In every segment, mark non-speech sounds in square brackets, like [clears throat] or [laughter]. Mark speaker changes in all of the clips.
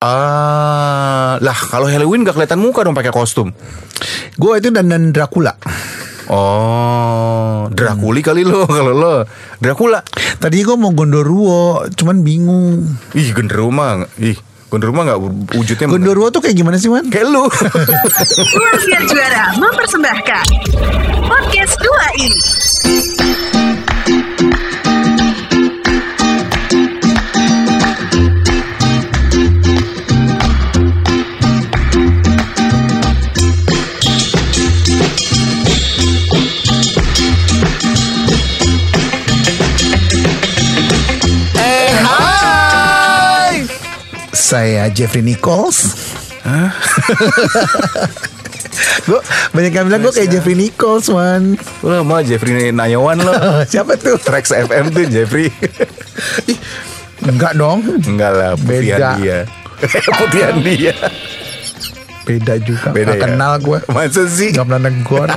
Speaker 1: Ah, Lah kalau Halloween gak kelihatan muka dong pakai kostum.
Speaker 2: Gue itu dandan Dracula.
Speaker 1: Oh, Drakuli kali lo [laughs] kalau lo Dracula.
Speaker 2: Tadi gue mau Gondoruo, cuman bingung.
Speaker 1: Ih genderuwo mah, ih genderuwo mah nggak wujudnya.
Speaker 2: Gondoruo tuh kayak gimana sih, Man?
Speaker 1: kayak [laughs] lu.
Speaker 3: Luar Biar Juara mempersembahkan Podcast 2 ini
Speaker 1: Eh, Hai.
Speaker 2: Saya Jeffrey Nichols. [laughs] gue banyak yang bilang gue kayak Jeffrey Nichols, Man.
Speaker 1: Lo
Speaker 2: Ah,
Speaker 1: mah Jeffrey Nayawan lo.
Speaker 2: Siapa tuh?
Speaker 1: Trax FM tuh Jeffrey.
Speaker 2: Enggak dong,
Speaker 1: Enggak lah, putihan
Speaker 2: Beda.
Speaker 1: dia. [laughs] putihan dia.
Speaker 2: beda juga.
Speaker 1: Beda
Speaker 2: Nggak
Speaker 1: ya?
Speaker 2: kenal gue.
Speaker 1: Masa sih?
Speaker 2: Gak pernah [laughs] negor.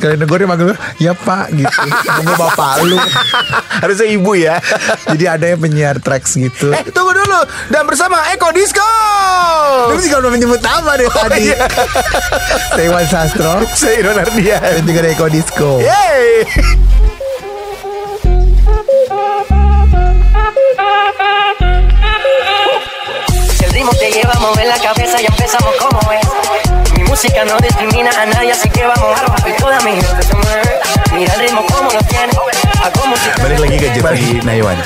Speaker 2: Sekali negor dia manggil gue, ya pak gitu. Gue bapak lu.
Speaker 1: [laughs] Harusnya ibu ya.
Speaker 2: Jadi ada yang penyiar tracks gitu.
Speaker 1: eh, tunggu dulu. Dan bersama Eko Disco.
Speaker 2: Tapi juga udah menyebut nama deh tadi. [laughs]
Speaker 1: iya.
Speaker 2: Saya Iwan Sastro
Speaker 1: Saya Iron
Speaker 2: dan
Speaker 1: Ardian.
Speaker 2: juga Eko Disco.
Speaker 1: Yeay.
Speaker 4: Si el ritmo te lleva a mover la cabeza, ya empezamos como es. Mi música no discrimina a nadie, así que vamos a romper. Toda mi gente se mueve. Mira el ritmo como lo tiene. Hago música.
Speaker 1: Balik lagi ke Jeffrey Nayawan.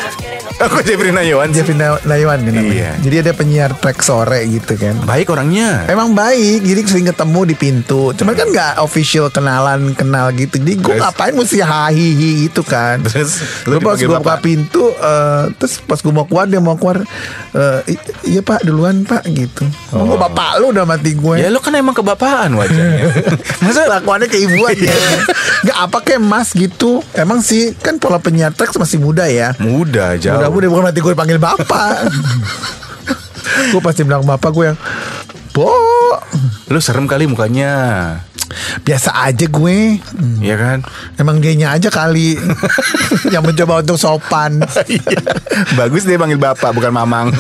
Speaker 1: Aku Jeffrey Nayawan.
Speaker 2: Jeffrey Na- Naywan kan namanya.
Speaker 1: Iya.
Speaker 2: Jadi ada penyiar track sore gitu kan.
Speaker 1: Baik orangnya.
Speaker 2: Emang baik, jadi sering ketemu di pintu. Cuman kan nggak official kenalan kenal gitu. Jadi gue
Speaker 1: Terus?
Speaker 2: ngapain mesti hahihi gitu kan.
Speaker 1: Terus, lu
Speaker 2: Lu pas
Speaker 1: dipanggil
Speaker 2: gue buka
Speaker 1: bapak?
Speaker 2: pintu, eh, terus pas gue mau keluar dia mau keluar. eh, "I- iya pak duluan pak gitu.
Speaker 1: Oh.
Speaker 2: Emang gua bapak lu udah mati gue.
Speaker 1: Ya lu kan emang kebapaan wajahnya.
Speaker 2: Masa lakuannya kayak ibuan
Speaker 1: Iya.
Speaker 2: ya Gak apa kayak mas gitu Emang sih Kan pola penyiar tracks masih muda ya
Speaker 1: Muda jauh.
Speaker 2: Mudah-mudahan bukan nanti gue dipanggil [laughs] bapak Gue pasti bilang bapak gue yang Bo
Speaker 1: Lu serem kali mukanya.
Speaker 2: Biasa aja gue Hmm,
Speaker 1: Iya kan?
Speaker 2: Emang dianya aja [laughs] kali Yang mencoba untuk sopan
Speaker 1: Iya. Bagus dia panggil bapak bukan mamang.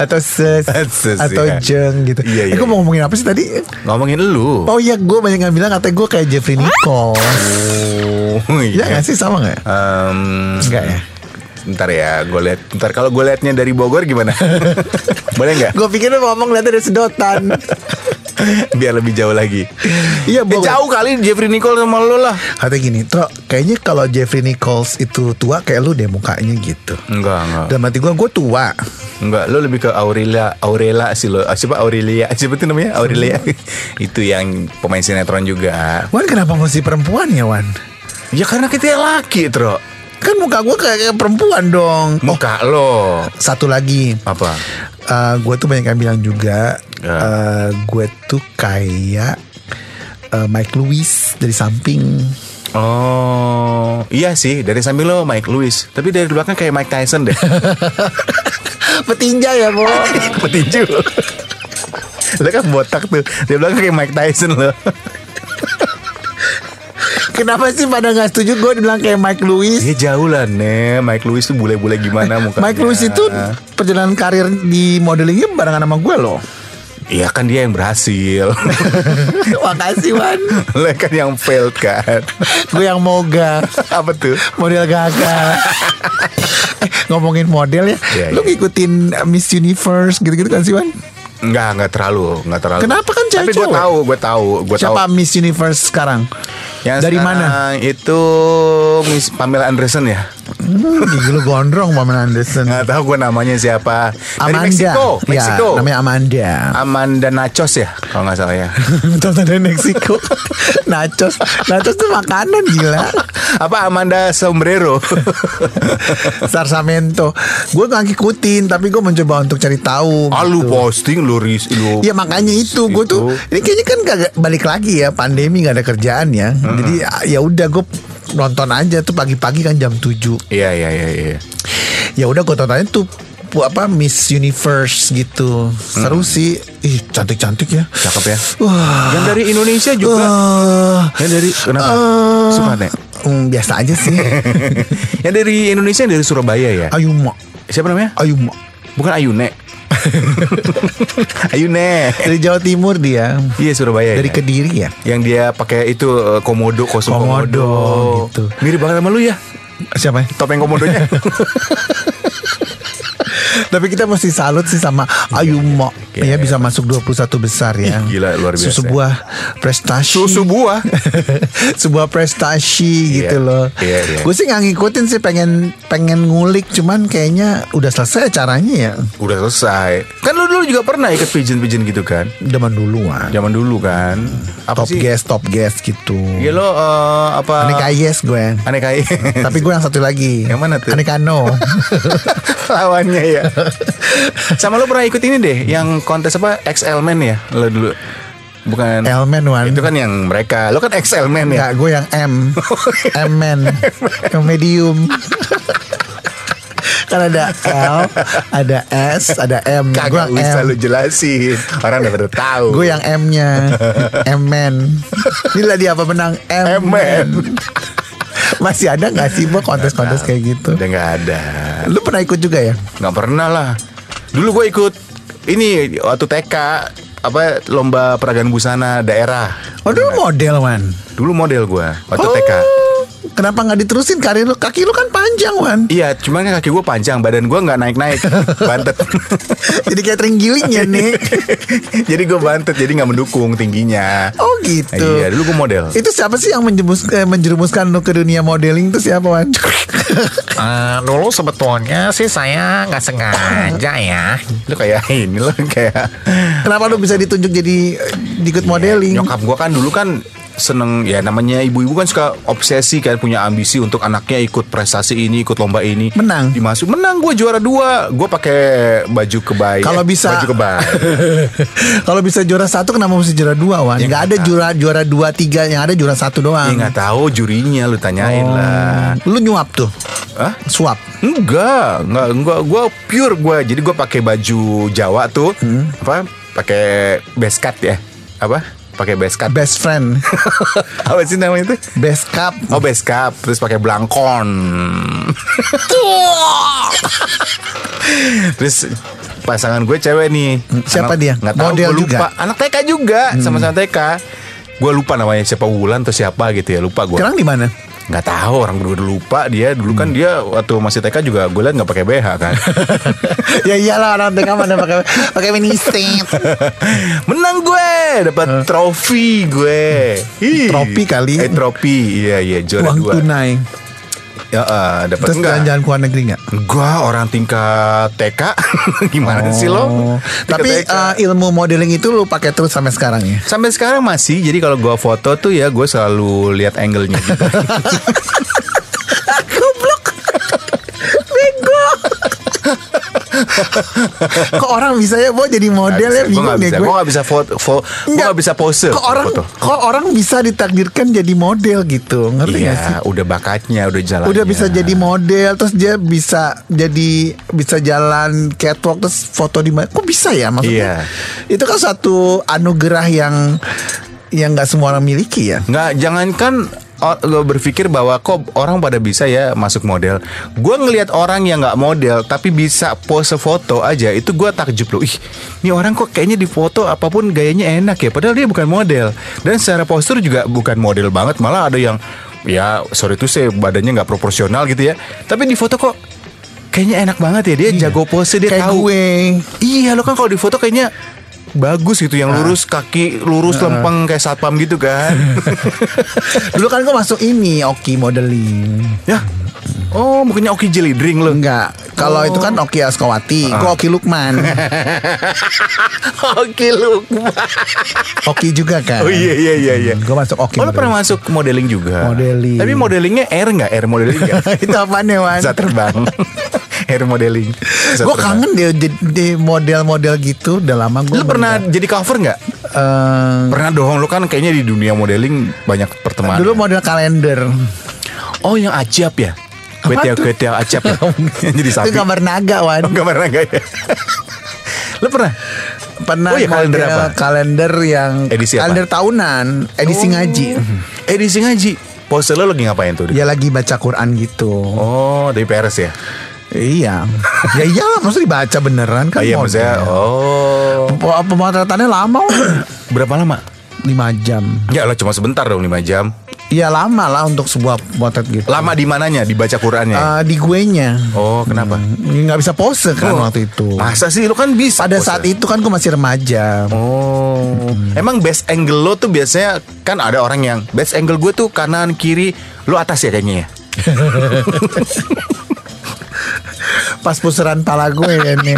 Speaker 2: Atau ses
Speaker 1: Ses,
Speaker 2: Atau
Speaker 1: ya.
Speaker 2: jeng gitu
Speaker 1: Iya,
Speaker 2: Eh
Speaker 1: iya,
Speaker 2: gue mau ngomongin apa sih tadi
Speaker 1: Ngomongin lu.
Speaker 2: Oh iya gue banyak yang bilang Katanya gue kayak Jeffrey Nichols
Speaker 1: Oh,
Speaker 2: Iya gak sih sama gak?
Speaker 1: Em,
Speaker 2: Enggak ya?
Speaker 1: Ntar ya, gue lihat. Ntar kalau gue liatnya dari Bogor [laughs] gimana? Boleh nggak?
Speaker 2: Gue pikir lu ngomong liatnya dari [laughs] sedotan
Speaker 1: Biar lebih jauh lagi. Eh,
Speaker 2: Iya, Bogor.
Speaker 1: jauh kali Jeffrey Nicole sama lo lah.
Speaker 2: Katanya gini, Tro, kayaknya kalau Jeffrey Nichols itu tua kayak lu deh mukanya gitu.
Speaker 1: Enggak, enggak.
Speaker 2: Dan mati gua, gue tua.
Speaker 1: Enggak, lo lebih ke Aurelia, Aurelia sih lo. Ah, Siapa Aurelia? [laughs] Siapa tuh namanya? Aurelia. [laughs] Itu yang pemain sinetron juga.
Speaker 2: Wan kenapa mesti perempuan ya Wan?
Speaker 1: Ya karena kita laki, Tro.
Speaker 2: Kan muka gue kayak, kayak perempuan dong. Oh,
Speaker 1: Muka lo.
Speaker 2: satu lagi.
Speaker 1: Apa?
Speaker 2: gue tuh banyak yang bilang juga,
Speaker 1: Ya.
Speaker 2: gue tuh kayak eh, Mike Lewis dari samping.
Speaker 1: Oh, iya sih. Dari samping lo Mike Lewis. Tapi dari belakang kayak Mike Tyson [laughs] deh.
Speaker 2: Petinja ya, Bo.
Speaker 1: Petinju. lo kan botak tuh. Dari belakang kayak Mike Tyson lo.
Speaker 2: Kenapa sih pada nggak setuju gue dibilang kayak Mike Lewis?
Speaker 1: Dia Iya, jauh lah, nih. Mike Lewis tuh bule-bule [laughs] gimana mukanya.
Speaker 2: Mike Lewis itu
Speaker 1: Ya.
Speaker 2: perjalanan karir di modelingnya barengan sama gue loh. [laughs]
Speaker 1: Iya kan dia yang berhasil.
Speaker 2: Makasih Wan
Speaker 1: [laughs] lo kan yang failed kan.
Speaker 2: Gue yang moga
Speaker 1: Apa tuh?
Speaker 2: Model
Speaker 1: [laughs]
Speaker 2: gagal Eh, Ngomongin model ya
Speaker 1: Iya,
Speaker 2: Lu
Speaker 1: iya.
Speaker 2: ngikutin uh, Miss Universe gitu-gitu kan sih Wan
Speaker 1: Enggak, enggak terlalu, enggak terlalu.
Speaker 2: Kenapa kan
Speaker 1: Tapi gue
Speaker 2: cewek-cewek?
Speaker 1: tahu, gue tahu, gue tahu.
Speaker 2: Siapa Miss Universe sekarang
Speaker 1: Yang
Speaker 2: Dari mana
Speaker 1: sekarang Itu Miss Pamela Anderson ya. [laughs]
Speaker 2: hmm, Gigi lu gondrong Pamela Anderson
Speaker 1: Enggak tahu gue namanya siapa. Dari
Speaker 2: Amanda
Speaker 1: Meksiko,
Speaker 2: Ya,
Speaker 1: Meksiko.
Speaker 2: Namanya Amanda [laughs]
Speaker 1: Amanda Nachos ya, kalau nggak [laughs] salah ya.
Speaker 2: Bentar-bentar dari Meksiko [laughs] Nachos Nachos tuh makanan
Speaker 1: [laughs]
Speaker 2: gila
Speaker 1: Apa Amanda [laughs] Sombrero?
Speaker 2: Sarsamento Gue gak ngikutin Tapi gue mencoba untuk cari tahu
Speaker 1: ah, lu
Speaker 2: gitu.
Speaker 1: posting, lu ris, lu.
Speaker 2: Ya makanya itu gue tuh
Speaker 1: gitu.
Speaker 2: ini kayaknya kan gak balik lagi ya pandemi nggak ada kerjaan ya.
Speaker 1: Hmm.
Speaker 2: Jadi ya udah gue nonton aja tuh pagi-pagi kan jam 7
Speaker 1: Iya, iya, iya, iya.
Speaker 2: Ya udah gue tontonnya tuh pu- apa Miss Universe gitu seru sih ih cantik cantik ya
Speaker 1: Hmm. Cakep ya.
Speaker 2: wah
Speaker 1: Yang dari Indonesia juga.
Speaker 2: eh,
Speaker 1: Yang dari kenapa?
Speaker 2: eh,
Speaker 1: Suka Nek?
Speaker 2: hmm, biasa aja
Speaker 1: [laughs]
Speaker 2: sih
Speaker 1: yang dari Indonesia yang dari Surabaya ya.
Speaker 2: Ayuma
Speaker 1: Siapa namanya?
Speaker 2: Ayuma
Speaker 1: [laughs] Bukan Ayune. Ayu ne.
Speaker 2: Dari Jawa Timur dia.
Speaker 1: Iya Surabaya.
Speaker 2: Dari
Speaker 1: ya?
Speaker 2: Kediri ya.
Speaker 1: Yang dia pakai itu eh, komodo kostum
Speaker 2: Komodo,
Speaker 1: komodo.
Speaker 2: gitu.
Speaker 1: Mirip banget sama lu ya.
Speaker 2: Siapa? ya?
Speaker 1: Topeng
Speaker 2: [laughs]
Speaker 1: komodonya.
Speaker 2: Tapi kita mesti salut sih sama Ayu Mok
Speaker 1: Iya,
Speaker 2: ya bisa masuk 21 besar ya.
Speaker 1: Ih, gila, luar biasa.
Speaker 2: Sebuah prestasi.
Speaker 1: Susu buah.
Speaker 2: [laughs] sebuah
Speaker 1: Iya,
Speaker 2: prestasi gitu loh.
Speaker 1: iya, iya.
Speaker 2: Gue sih nggak ngikutin sih pengen pengen ngulik cuman kayaknya udah selesai acaranya ya.
Speaker 1: Udah selesai. Kan lu dulu juga pernah ikut pigeon-pigeon gitu kan?
Speaker 2: Zaman duluan.
Speaker 1: Zaman dulu kan. Apa
Speaker 2: top guest, top guest gitu.
Speaker 1: Ya lo eh, apa?
Speaker 2: Aneka yes gue.
Speaker 1: Aneka
Speaker 2: Tapi gue yang satu lagi.
Speaker 1: Yang mana tuh?
Speaker 2: Aneka no.
Speaker 1: [laughs] lawannya ya. Sama lo pernah ikut ini deh, yang kontes apa XL Man ya? Lo dulu. Bukan.
Speaker 2: Elmen one.
Speaker 1: Itu kan yang mereka. Lo kan XL Man
Speaker 2: Enggak,
Speaker 1: ya.
Speaker 2: gue yang M. M men. Yang medium. kan ada L, ada S, ada M. Gue
Speaker 1: Kagak
Speaker 2: yang
Speaker 1: usah
Speaker 2: M.
Speaker 1: lo jelasin. Orang udah pada tahu.
Speaker 2: Gue yang M-nya. M men. Inilah dia apa menang M
Speaker 1: M-man.
Speaker 2: men. Masih ada nggak sih Bo kontes-kontes kayak gitu?
Speaker 1: Udah nggak ada.
Speaker 2: Lu pernah ikut juga ya?
Speaker 1: Nggak pernah lah. Dulu gue ikut ini waktu TK apa lomba peragaan busana daerah.
Speaker 2: Oh dulu model man.
Speaker 1: Dulu model gue waktu
Speaker 2: Oh.
Speaker 1: TK.
Speaker 2: Kenapa nggak diterusin karir lu? Kaki lu kan panjang wan.
Speaker 1: Iya, cuman kan kaki gue panjang, badan gue nggak naik-naik, bantet. [laughs]
Speaker 2: Jadi kayak terenggiling ya nih.
Speaker 1: jadi gue bantet, jadi nggak mendukung tingginya.
Speaker 2: Oh gitu.
Speaker 1: Iya, dulu gue model.
Speaker 2: Itu siapa sih yang menjemus- eh, menjerumuskan lu ke dunia modeling itu siapa Wan? [laughs]
Speaker 5: Eh, dulu sebetulnya sih saya nggak sengaja ya.
Speaker 1: Lu kayak ini lo kayak
Speaker 2: Kenapa lu bisa ditunjuk jadi eh, ikut modeling?
Speaker 1: Iya, nyokap gue kan dulu kan seneng ya namanya ibu-ibu kan suka obsesi kan punya ambisi untuk anaknya ikut prestasi ini ikut lomba ini
Speaker 2: Menang.
Speaker 1: dimasuk menang gue juara dua gue pakai baju kebaya
Speaker 2: Kalau bisa-
Speaker 1: Iya, baju kebaya
Speaker 2: [laughs] Kalau bisa juara satu kenapa mesti juara dua Wan?
Speaker 1: Ya,
Speaker 2: Gak ada
Speaker 1: nggak
Speaker 2: juara juara dua tiga yang ada juara satu
Speaker 1: ya
Speaker 2: doang. Hmm.
Speaker 1: nggak tahu jurinya lu tanyain
Speaker 2: Oh.
Speaker 1: lah
Speaker 2: Lu nyuap tuh,
Speaker 1: Hah?
Speaker 2: suap.
Speaker 1: Enggak, enggak, enggak. Gue pure gue. Jadi gue pakai baju Jawa tuh,
Speaker 2: Hmm.
Speaker 1: apa? Pakai beskat ya? Apa? Pakai beskat.
Speaker 2: Best friend,
Speaker 1: [laughs] apa sih namanya itu?
Speaker 2: best cup.
Speaker 1: Oh beskap, terus pakai blangkon. terus pasangan gue cewek nih.
Speaker 2: Siapa
Speaker 1: Anak-
Speaker 2: dia?
Speaker 1: Nggak tahu,
Speaker 2: Model
Speaker 1: gue lupa.
Speaker 2: juga? Hmm.
Speaker 1: Anak TK juga, sama-sama TK. Gue lupa namanya siapa Wulan atau siapa gitu ya, lupa gue.
Speaker 2: Sekarang di
Speaker 1: [laughs]
Speaker 2: mana?
Speaker 1: nggak tahu orang dulu lupa dia dulu
Speaker 2: Hmm.
Speaker 1: kan dia waktu masih TK juga gue liat nggak pakai BH
Speaker 2: [laughs]
Speaker 1: kan
Speaker 2: ya iyalah orang TK mana pakai pakai mini set.
Speaker 1: menang gue dapat trofi gue Ih.
Speaker 2: Tropi kali.
Speaker 1: eh, trofi iya iya juara
Speaker 2: Uang
Speaker 1: dua
Speaker 2: tunai.
Speaker 1: ya eh, dapat
Speaker 2: Terus
Speaker 1: enggak
Speaker 2: jalan-jalan ke luar negeri nggak?
Speaker 1: Gua orang tingkat TK [laughs] Gimana sih
Speaker 2: Oh,
Speaker 1: lo? Tingkat
Speaker 2: Tapi
Speaker 1: TK.
Speaker 2: eh, ilmu modeling itu lu pakai terus sampai sekarang ya?
Speaker 1: Sampai sekarang masih Jadi kalau gua foto tuh ya Gue selalu lihat angle-nya gitu.
Speaker 2: [laughs] Kok orang bisa ya Bo jadi model ya
Speaker 1: Gue
Speaker 2: bingung
Speaker 1: gak
Speaker 2: deh
Speaker 1: bisa
Speaker 2: gue.
Speaker 1: Gue gak bisa foto fo- Gue
Speaker 2: Enggak.
Speaker 1: gak bisa pose
Speaker 2: Kok orang
Speaker 1: foto.
Speaker 2: kok orang bisa ditakdirkan jadi model gitu. Ngerti nggak sih?
Speaker 1: Iya udah bakatnya Udah jalannya
Speaker 2: Udah bisa jadi model terus dia bisa jadi bisa jalan catwalk terus foto di mana? Kok bisa ya maksudnya?
Speaker 1: Iya.
Speaker 2: Itu kan satu anugerah yang yang nggak semua orang miliki ya.
Speaker 1: Nggak, jangankan o- lo berpikir bahwa kok orang pada bisa ya masuk model. Gue ngelihat orang yang nggak model tapi bisa pose foto aja, itu gue takjub loh. Ih, ini orang kok kayaknya di foto apapun gayanya enak ya. Padahal dia bukan model dan secara postur juga bukan model banget. Malah ada yang ya sorry tuh saya badannya nggak proporsional gitu ya. Tapi di foto kok kayaknya enak banget ya dia jago pose dia
Speaker 2: Iya. Kayak
Speaker 1: tahu.
Speaker 2: gue.
Speaker 1: Iya lo kan kalau di foto kayaknya bagus gitu
Speaker 2: Ah.
Speaker 1: yang lurus kaki lurus lempeng kayak satpam gitu kan.
Speaker 2: [laughs] Dulu kan gue masuk ini Oki modeling.
Speaker 1: Ya. Oh, bukannya Oki Jelly Drink lo.
Speaker 2: Enggak, kalau itu
Speaker 1: Oh.
Speaker 2: kan Oki Askowati, gue
Speaker 1: Ah.
Speaker 2: Oki Lukman,
Speaker 1: [laughs] [laughs] Oki lu.
Speaker 2: Oki juga kan.
Speaker 1: Oh iya iya iya iya.
Speaker 2: Gue masuk Oki.
Speaker 1: Oh, lo pernah masuk modeling juga.
Speaker 2: Modeling.
Speaker 1: Tapi modelingnya air nggak? Air modeling
Speaker 2: [laughs]
Speaker 1: nggak?
Speaker 2: itu apaan ya
Speaker 1: [laughs]
Speaker 2: Wan?
Speaker 1: Bisa
Speaker 2: [laughs]
Speaker 1: terbang. air modeling. Bisa
Speaker 2: Gue
Speaker 1: terbang.
Speaker 2: kangen deh di- di model-model gitu udah lama gue.
Speaker 1: Lo pernah jadi cover nggak?
Speaker 2: Hmm. Eh,
Speaker 1: Pernah dong. Lo kan kayaknya di dunia modeling banyak pertemanan.
Speaker 2: dulu model kalender.
Speaker 1: oh yang acap ya. Kwetia
Speaker 2: tuh?
Speaker 1: kwetia acap
Speaker 2: [laughs]
Speaker 1: ya. Yang jadi
Speaker 2: Itu
Speaker 1: sapi.
Speaker 2: gambar naga Wan.
Speaker 1: Oh, gambar naga ya. lo pernah?
Speaker 2: Pernah
Speaker 1: Oh iya, kalender
Speaker 2: model
Speaker 1: apa?
Speaker 2: kalender yang
Speaker 1: Edisi apa?
Speaker 2: kalender tahunan, edisi ngaji.
Speaker 1: Edisi ngaji. Pose lo lagi ngapain tuh?
Speaker 2: Ya lagi baca Quran gitu.
Speaker 1: Oh, dari PRS ya? [laughs]
Speaker 2: Iya. ya iyalah masa dibaca beneran kan.
Speaker 1: iya
Speaker 2: model.
Speaker 1: maksudnya oh
Speaker 2: Pe- Pemotretannya lama,
Speaker 1: [coughs]
Speaker 2: Om.
Speaker 1: berapa lama?
Speaker 2: 5 jam.
Speaker 1: Ya lah cuma sebentar dong 5 jam.
Speaker 2: Ya lama lah untuk sebuah potret gitu.
Speaker 1: Lama di mananya dibaca Qurannya?
Speaker 2: Eh, di gue nya.
Speaker 1: oh kenapa?
Speaker 2: Nggak bisa pose kan
Speaker 1: Oh.
Speaker 2: waktu itu.
Speaker 1: Masa sih lu kan bisa.
Speaker 2: Pada
Speaker 1: pose.
Speaker 2: saat itu kan gue masih remaja.
Speaker 1: Oh, emang best angle lo tuh biasanya kan ada orang yang best angle gue tuh kanan kiri lo atas ya kayaknya ya. [laughs]
Speaker 2: Pas puseran pala gue ya, ini.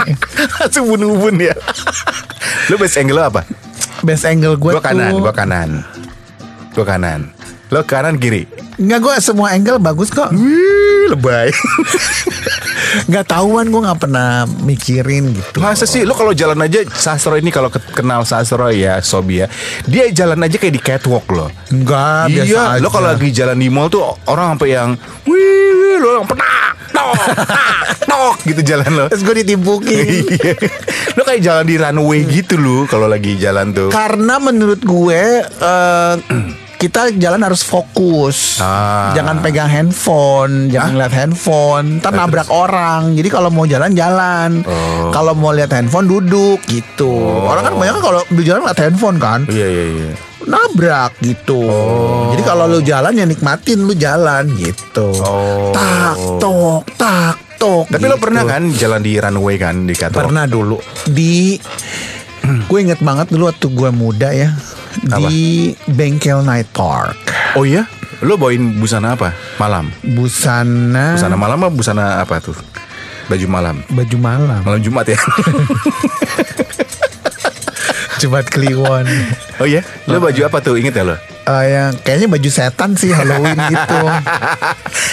Speaker 1: Langsung ubun-ubun ya. [laughs] lo best angle lo apa?
Speaker 2: Best angle gue
Speaker 1: Gue kanan,
Speaker 2: tuh.
Speaker 1: gue kanan, gue kanan. Lo kanan kiri.
Speaker 2: Nggak gue semua angle bagus kok.
Speaker 1: Wih, lebay. [laughs]
Speaker 2: Nggak tahuan gue nggak pernah mikirin gitu.
Speaker 1: Masa sih lo kalau jalan aja Sastro ini kalau ke- kenal Sastro ya Sobi ya, dia jalan aja kayak di catwalk lo.
Speaker 2: Enggak, Ah, biasa
Speaker 1: iya, lo
Speaker 2: aja.
Speaker 1: kalau lagi jalan di mall tuh orang sampai yang wih, wih, lo yang petak, tok, tak, tok gitu jalan
Speaker 2: [laughs]
Speaker 1: lo.
Speaker 2: Terus gue ditimpukin.
Speaker 1: Iya. lo kayak jalan di runway gitu lo kalau lagi jalan tuh.
Speaker 2: Karena menurut gue eh, kita jalan harus fokus,
Speaker 1: Ah.
Speaker 2: jangan pegang handphone, jangan lihat handphone, ntar
Speaker 1: Nah,
Speaker 2: nabrak orang. Jadi kalau mau jalan jalan,
Speaker 1: Oh.
Speaker 2: kalau mau lihat handphone duduk gitu. Orang kan banyak kan kalau di jalan lihat handphone kan,
Speaker 1: Iya iya iya.
Speaker 2: nabrak gitu. Jadi kalau lu jalan ya nikmatin lu jalan gitu.
Speaker 1: Oh.
Speaker 2: Tak tok tak tok.
Speaker 1: Tapi lo
Speaker 2: gitu.
Speaker 1: pernah kan jalan di runway kan di catwalk?
Speaker 2: Pernah dulu di gue inget banget dulu waktu gue muda ya
Speaker 1: Apa?
Speaker 2: di bengkel night park
Speaker 1: Oh iya? Lo bawain busana apa? Malam.
Speaker 2: busana,
Speaker 1: Busana malam apa busana apa tuh? Baju malam.
Speaker 2: baju malam
Speaker 1: Malam Jumat
Speaker 2: [laughs]
Speaker 1: ya.
Speaker 2: jumat kliwon
Speaker 1: oh iya? Lo baju apa tuh? Ingat ya lo?
Speaker 2: [laughs] Eh, yang kayaknya baju setan sih Halloween
Speaker 1: [laughs]
Speaker 2: gitu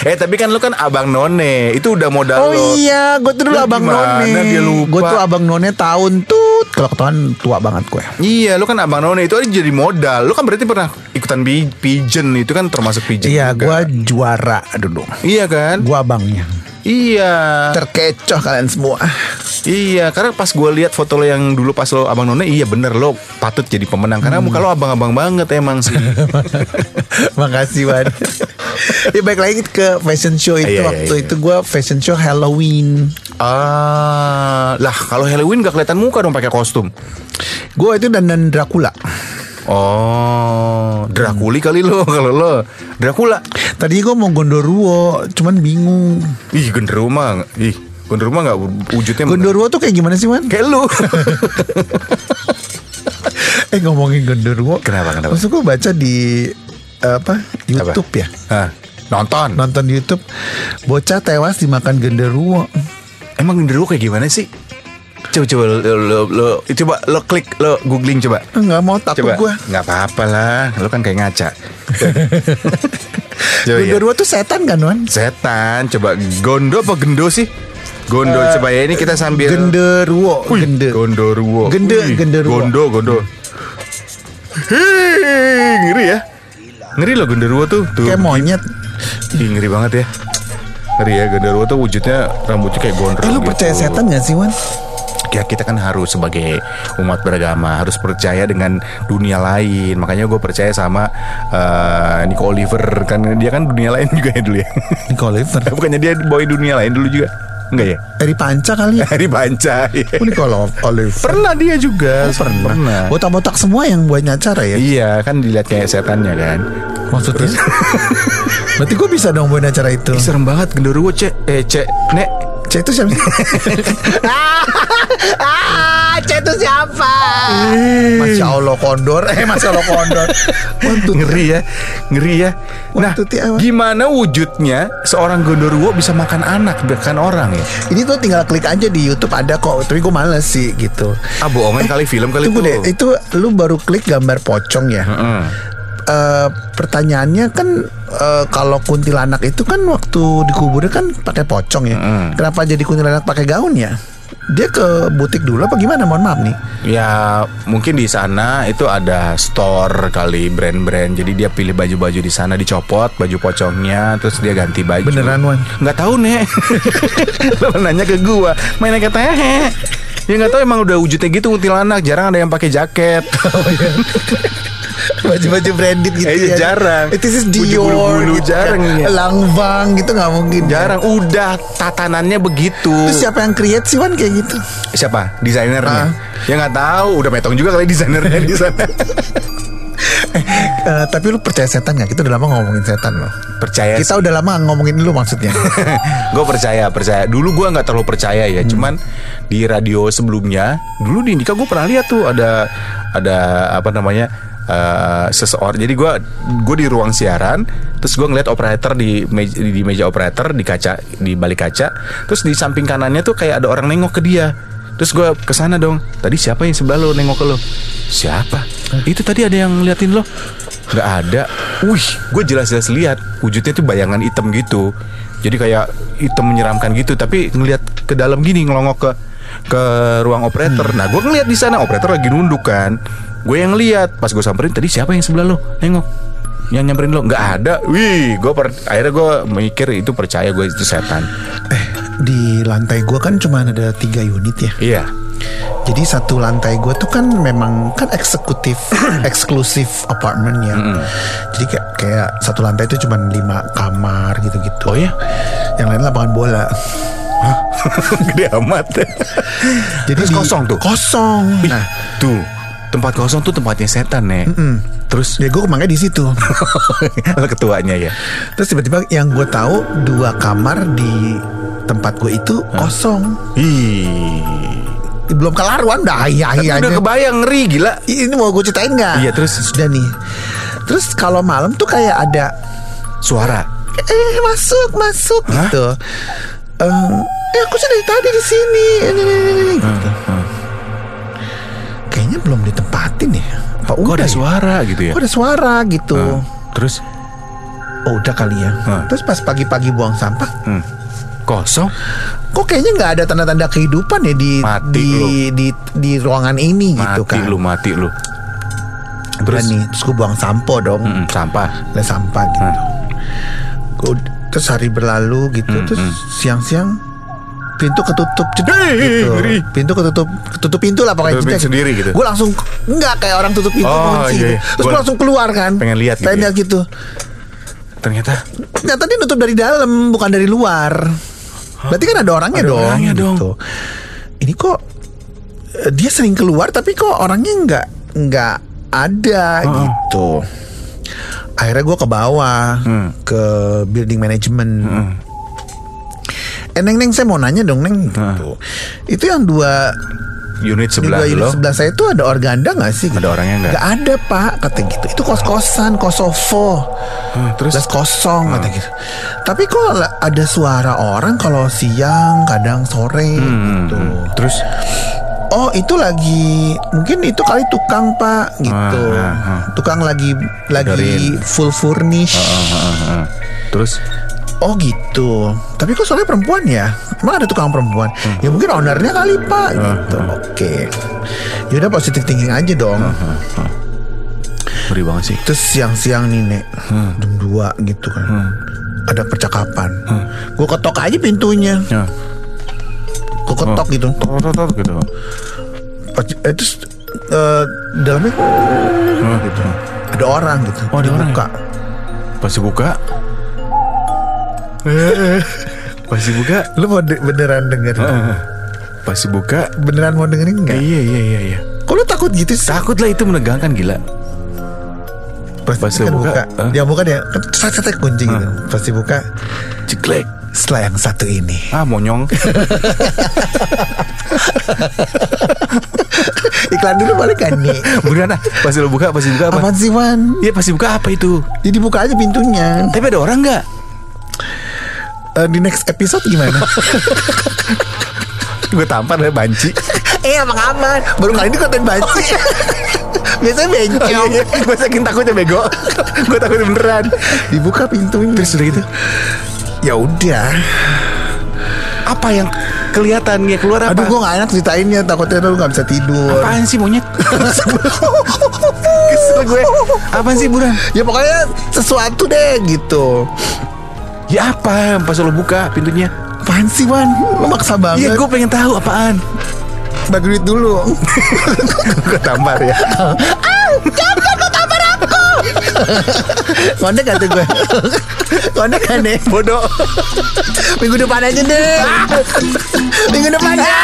Speaker 1: Eh tapi kan lo kan abang none. Itu udah modal
Speaker 2: oh
Speaker 1: lo.
Speaker 2: iya gue tuh dulu
Speaker 1: Lah,
Speaker 2: abang
Speaker 1: gimana
Speaker 2: none
Speaker 1: dia lupa?
Speaker 2: gue tuh abang none tahun tuh kalau ketahuan tua banget ya. gue
Speaker 1: Iya, lu kan abang none itu aja jadi modal. Lu kan berarti pernah ikutan bi- pigeon itu kan termasuk pigeon.
Speaker 2: iya gue
Speaker 1: juga.
Speaker 2: juara dulu
Speaker 1: Iya kan?
Speaker 2: gue abangnya
Speaker 1: Iya.
Speaker 2: terkecoh kalian semua
Speaker 1: iya, karena pas gue lihat foto lo yang dulu pas lo abang none, iya bener lo patut jadi pemenang karena
Speaker 2: Hmm.
Speaker 1: muka lo abang-abang banget emang
Speaker 2: [laughs]
Speaker 1: sih.
Speaker 2: [laughs] Makasih
Speaker 1: [laughs]
Speaker 2: Wan Ya baik lagi ke fashion show itu
Speaker 1: Iya, iya,
Speaker 2: Waktu
Speaker 1: iya.
Speaker 2: itu gue fashion show Halloween
Speaker 1: ah, lah kalau Halloween gak kelihatan muka dong pakai kostum.
Speaker 2: Gue itu dandan Dracula
Speaker 1: Oh, Drakuli kali lo [laughs] kalau lo Dracula.
Speaker 2: Tadi gue mau Gondoruo Cuman bingung
Speaker 1: Ih, genderuwo mah. Ih, genderuwo mah gak wujudnya
Speaker 2: Gondoruo tuh kayak gimana sih Wan?
Speaker 1: kayak lu.
Speaker 2: [laughs] Eh ngomongin Gondoruo
Speaker 1: Kenapa, kenapa?
Speaker 2: Maksud gue baca di eh, Apa Youtube ya
Speaker 1: Hah, nonton.
Speaker 2: Nonton di Youtube Bocah tewas dimakan genderuwo
Speaker 1: Emang genderuwo kayak gimana sih? Coba coba lo, lo- lo- coba lo klik lo googling coba.
Speaker 2: Enggak mau takut
Speaker 1: Coba.
Speaker 2: gue
Speaker 1: Nggak apa-apa lah. Lo kan kayak [laughs] ngaca. coba ya.
Speaker 2: Gondoruo tuh setan kan Wan?
Speaker 1: Setan. Coba gondo apa gendo sih? Gondo coba ya ini kita sambil.
Speaker 2: Genderuwo
Speaker 1: Wih,
Speaker 2: Gende
Speaker 1: Gondoruo.
Speaker 2: Gende,
Speaker 1: Wih,
Speaker 2: genderuwo.
Speaker 1: Gondo gondo. Hei, ngeri ya. Ngeri lo genderuwo tuh. tuh.
Speaker 2: Kayak monyet
Speaker 1: Ih, ngeri banget ya. Ngeri ya genderuwo tuh wujudnya rambutnya kayak gondrong.
Speaker 2: Eh lu percaya
Speaker 1: gitu.
Speaker 2: setan gak sih Wan?
Speaker 1: ya kita kan harus sebagai umat beragama harus percaya dengan dunia lain makanya gue percaya sama eh, Nico Oliver kan dia kan dunia lain [laughs] juga ya dulu ya
Speaker 2: Nico Oliver
Speaker 1: bukannya dia boy dunia lain dulu juga enggak ya [laughs]
Speaker 2: Eri Panca kali ya
Speaker 1: dari Banca iya.
Speaker 2: Oh, Nico Lo- Oliver
Speaker 1: pernah dia juga
Speaker 2: Pernah Botak-botak semua yang buat acara ya
Speaker 1: iya kan dilihat kayak setannya kan
Speaker 2: Maksudnya Berarti gue bisa dong buat acara itu
Speaker 1: Ih, serem banget genderuwo cek eh cek nek
Speaker 2: C itu siapa Ah, C itu siapa Masya Allah kondor Eh Masya Allah [laughs] kondor Untuk
Speaker 1: ngeri ya ngeri ya nah
Speaker 2: Waktu tiawan.
Speaker 1: gimana wujudnya seorang genderuwo bisa makan anak bahkan orang ya
Speaker 2: Ini tuh tinggal klik aja di Youtube ada kok Tapi gue males sih gitu
Speaker 1: ah bohongan kali film kali
Speaker 2: Tunggu
Speaker 1: itu
Speaker 2: deh eh. Itu lu baru klik gambar pocong ya
Speaker 1: Mm.
Speaker 2: Eh, pertanyaannya kan eh, kalau kuntilanak itu kan waktu dikuburnya kan pakai pocong ya. Kenapa jadi kuntilanak pakai gaun ya? Dia ke butik dulu apa gimana? Mohon maaf nih.
Speaker 1: Ya mungkin di sana itu ada store kali brand-brand Jadi dia pilih baju-baju di sana dicopot baju pocongnya Terus dia ganti baju
Speaker 2: Beneran, Wan? [laughs]
Speaker 1: Nggak tahu nek Lo nanya ke gua Main kata hehe Ya nggak tahu emang udah wujudnya gitu kuntilanak, jarang ada yang pakai jaket.
Speaker 2: Baju-baju branded gitu
Speaker 1: Iya,
Speaker 2: ya
Speaker 1: jarang.
Speaker 2: It is Dior
Speaker 1: Bulu-bulu
Speaker 2: gitu
Speaker 1: jarang,
Speaker 2: kan.
Speaker 1: ya.
Speaker 2: Langvang gitu gak mungkin
Speaker 1: jarang udah tatanannya begitu.
Speaker 2: Terus siapa yang create sih Wan kayak
Speaker 1: [laughs]
Speaker 2: gitu
Speaker 1: Siapa? Desainernya.
Speaker 2: Ah.
Speaker 1: Ya nggak tahu, udah metong juga kali desainernya di sana.
Speaker 2: Eh, Tapi lu percaya setan gak? Kita udah lama ngomongin setan loh
Speaker 1: Percaya
Speaker 2: Kita udah lama ngomongin lu maksudnya [laughs]
Speaker 1: [laughs] gue percaya percaya dulu gue nggak terlalu percaya ya cuman di radio sebelumnya dulu di Indika gue pernah lihat tuh ada ada apa namanya eh seseorang jadi gue gue di ruang siaran terus gue ngeliat operator di meja, di meja operator di kaca di balik kaca terus di samping kanannya tuh kayak ada orang nengok ke dia terus gue kesana dong tadi siapa yang sebelah lo nengok ke lo siapa itu tadi ada yang ngeliatin lo nggak ada wih gue jelas-jelas lihat wujudnya tuh bayangan hitam gitu jadi kayak hitam menyeramkan gitu tapi ngelihat ke dalam gini ngelongok ke ke ruang
Speaker 2: Hmm.
Speaker 1: operator nah gue ngelihat di sana operator lagi nunduk kan gue yang lihat pas gue samperin tadi siapa yang sebelah lo nengok yang nyamperin lo nggak ada wih gue per- akhirnya gue mikir itu percaya gue itu setan
Speaker 2: Eh, Di lantai gua kan cuma ada tiga unit ya
Speaker 1: iya [laughs]
Speaker 2: Jadi satu lantai gue tuh kan memang kan
Speaker 1: [clears throat]
Speaker 2: eksekutif eksklusif apartemen ya. Jadi kayak kayak satu lantai itu cuma lima kamar gitu-gitu. Oh
Speaker 1: iya?
Speaker 2: ya? Yang lain lapangan bola.
Speaker 1: gede amat
Speaker 2: Jadi
Speaker 1: Terus
Speaker 2: di-
Speaker 1: kosong tuh?
Speaker 2: Kosong.
Speaker 1: nah
Speaker 2: Nah,
Speaker 1: tuh tempat kosong tuh tempatnya setan nih terus
Speaker 2: ya gue kemangnya di
Speaker 1: [laughs]
Speaker 2: situ.
Speaker 1: ketuanya ya
Speaker 2: Terus tiba-tiba yang gue tahu dua kamar di tempat gue itu kosong.
Speaker 1: Ih,
Speaker 2: Belum kelaruan dah iya iya.
Speaker 1: udah
Speaker 2: aja.
Speaker 1: kebayang ngeri gila
Speaker 2: Ini mau gue ceritain nggak?
Speaker 1: Iya, terus?
Speaker 2: sudah nih. Terus kalau malam tuh kayak ada
Speaker 1: suara
Speaker 2: eh masuk masuk
Speaker 1: Hah?
Speaker 2: gitu Em, eh aku sih dari tadi di sini ini, ini, ini,
Speaker 1: Ah,
Speaker 2: ini, gitu. kayaknya belum ditempatin ya apa
Speaker 1: kok
Speaker 2: udah
Speaker 1: ada
Speaker 2: ya?
Speaker 1: suara Ah. gitu ya
Speaker 2: kok ada suara gitu
Speaker 1: terus
Speaker 2: oh udah kali ya
Speaker 1: Hmm.
Speaker 2: terus pas pagi-pagi buang sampah
Speaker 1: hmm, kosong
Speaker 2: kok kayaknya nggak ada tanda-tanda kehidupan ya di
Speaker 1: Mati
Speaker 2: di,
Speaker 1: lu.
Speaker 2: di di ruangan ini
Speaker 1: mati
Speaker 2: gitu kan
Speaker 1: lu mati lu
Speaker 2: terus
Speaker 1: terus
Speaker 2: nih terus gue buang sampo dong
Speaker 1: Mm-mm, sampah
Speaker 2: les sampah gitu. Gua- terus hari berlalu gitu, terus siang-siang pintu ketutup cedek gitu.
Speaker 1: ngeri.
Speaker 2: Pintu ketutup, ketutup pintu lah pokoknya
Speaker 1: Ketutup pintu sendiri gitu.
Speaker 2: Gue langsung enggak kayak orang tutup pintu
Speaker 1: Oh,
Speaker 2: kunci. gitu.
Speaker 1: iya, iya.
Speaker 2: Terus gue
Speaker 1: Gua
Speaker 2: langsung keluar kan.
Speaker 1: pengen lihat gitu
Speaker 2: Pengen
Speaker 1: ya.
Speaker 2: lihat gitu.
Speaker 1: ternyata
Speaker 2: Ternyata dia Nah, nutup dari dalam, bukan dari luar. Berarti kan ada orangnya
Speaker 1: Ada
Speaker 2: dong.
Speaker 1: orangnya dong.
Speaker 2: gitu. Ini kok eh, dia sering keluar tapi kok orangnya nggak nggak ada gitu. Akhirnya gue ke bawah
Speaker 1: Hmm.
Speaker 2: ke building management. Eh neng neng saya mau nanya dong neng gitu. Itu yang dua
Speaker 1: unit
Speaker 2: di
Speaker 1: sebelah
Speaker 2: dua unit
Speaker 1: lo
Speaker 2: sebelah saya itu ada organda nggak sih?
Speaker 1: Ada orangnya nggak?
Speaker 2: Nggak ada pak kata gitu. Itu kos kosan Kosovo.
Speaker 1: Hah, terus
Speaker 2: Terus kosong kata gitu. Tapi kok la- ada suara orang kalau siang, kadang
Speaker 1: Hmm,
Speaker 2: sore gitu.
Speaker 1: terus
Speaker 2: Oh, itu lagi mungkin itu kali tukang, Pak, gitu.
Speaker 1: Ah, ah, ah.
Speaker 2: Tukang lagi lagi
Speaker 1: Benerin.
Speaker 2: full furnish.
Speaker 1: Heeh, heeh. terus
Speaker 2: Oh, gitu. Tapi kok soalnya perempuan ya? Emang ada tukang perempuan?
Speaker 1: Hmm.
Speaker 2: Ya mungkin ownernya kali, Pak,
Speaker 1: Ah,
Speaker 2: gitu. Oke. Yaudah positif thinking aja dong.
Speaker 1: Ah. ngeri banget sih
Speaker 2: Terus siang-siang nih nek
Speaker 1: Hmm.
Speaker 2: Jam 2 gitu kan Ada percakapan
Speaker 1: Hmm.
Speaker 2: Gue ketok aja pintunya
Speaker 1: ya Oh.
Speaker 2: Gue ketok gitu
Speaker 1: tok, tok, tok, gitu
Speaker 2: Pas- eh, Terus eh, Dalamnya
Speaker 1: Heeh.
Speaker 2: ada orang gitu
Speaker 1: Oh, ada orang
Speaker 2: Dibuka.
Speaker 1: pas [laughs] dibuka pas dibuka
Speaker 2: Lu mau de- beneran dengerin
Speaker 1: heeh. pas dibuka
Speaker 2: Beneran mau dengerin gak?
Speaker 1: iya iya iya iya
Speaker 2: Kok lu takut gitu sih?
Speaker 1: takut lah itu menegangkan gila pas dibuka,
Speaker 2: kan buka
Speaker 1: eh?
Speaker 2: Dia buka dia kan Cetek kunci gitu Pas dibuka
Speaker 1: jeglek
Speaker 2: Setelah yang satu ini
Speaker 1: [laughs] ah monyong
Speaker 2: Iklan dulu boleh kan nih? [laughs]
Speaker 1: beneran ah pas lo buka pas dibuka apa
Speaker 2: Apaan sih Wan?
Speaker 1: Iya pas dibuka apa itu
Speaker 2: Jadi buka aja pintunya
Speaker 1: tapi ada orang nggak
Speaker 2: Eh, Di next episode gimana?
Speaker 1: [laughs] gue tampar dari banci
Speaker 2: Eh emang aman Baru kali ini konten
Speaker 1: Oh,
Speaker 2: banci
Speaker 1: iya.
Speaker 2: Biasanya bencong
Speaker 1: Gue Iya, saking takutnya bego Gue takut beneran
Speaker 2: Dibuka pintunya Terus udah gitu Ya udah
Speaker 1: Apa yang kelihatan yang keluar apa?
Speaker 2: Aduh gue gak enak ceritainnya Takutnya lu gak bisa tidur
Speaker 1: Apaan sih monyet? Kesel gue Apaan sih buran?
Speaker 2: Ya pokoknya sesuatu deh gitu
Speaker 1: Ya apa pas lo buka pintunya
Speaker 2: Apaan sih Wan Lu maksa banget
Speaker 1: Iya gue pengen tahu apaan
Speaker 2: bagi duit dulu
Speaker 1: Gue tampar ya
Speaker 2: Konek gak tuh gue Konek gak nih
Speaker 1: Bodoh
Speaker 2: Minggu depan aja deh Minggu depan ya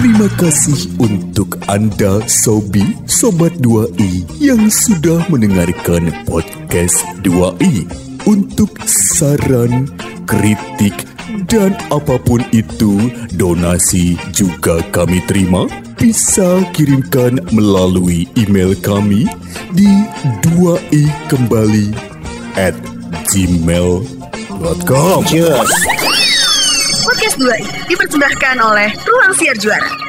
Speaker 6: Terima kasih untuk Anda Sobi Sobat 2i yang sudah mendengarkan podcast 2i. Untuk saran, kritik, dan apapun itu, donasi juga kami terima. Bisa kirimkan melalui email kami di 2i kembali at gmail.com.
Speaker 3: Podcast 2 dipersembahkan oleh Ruang Siar Juara.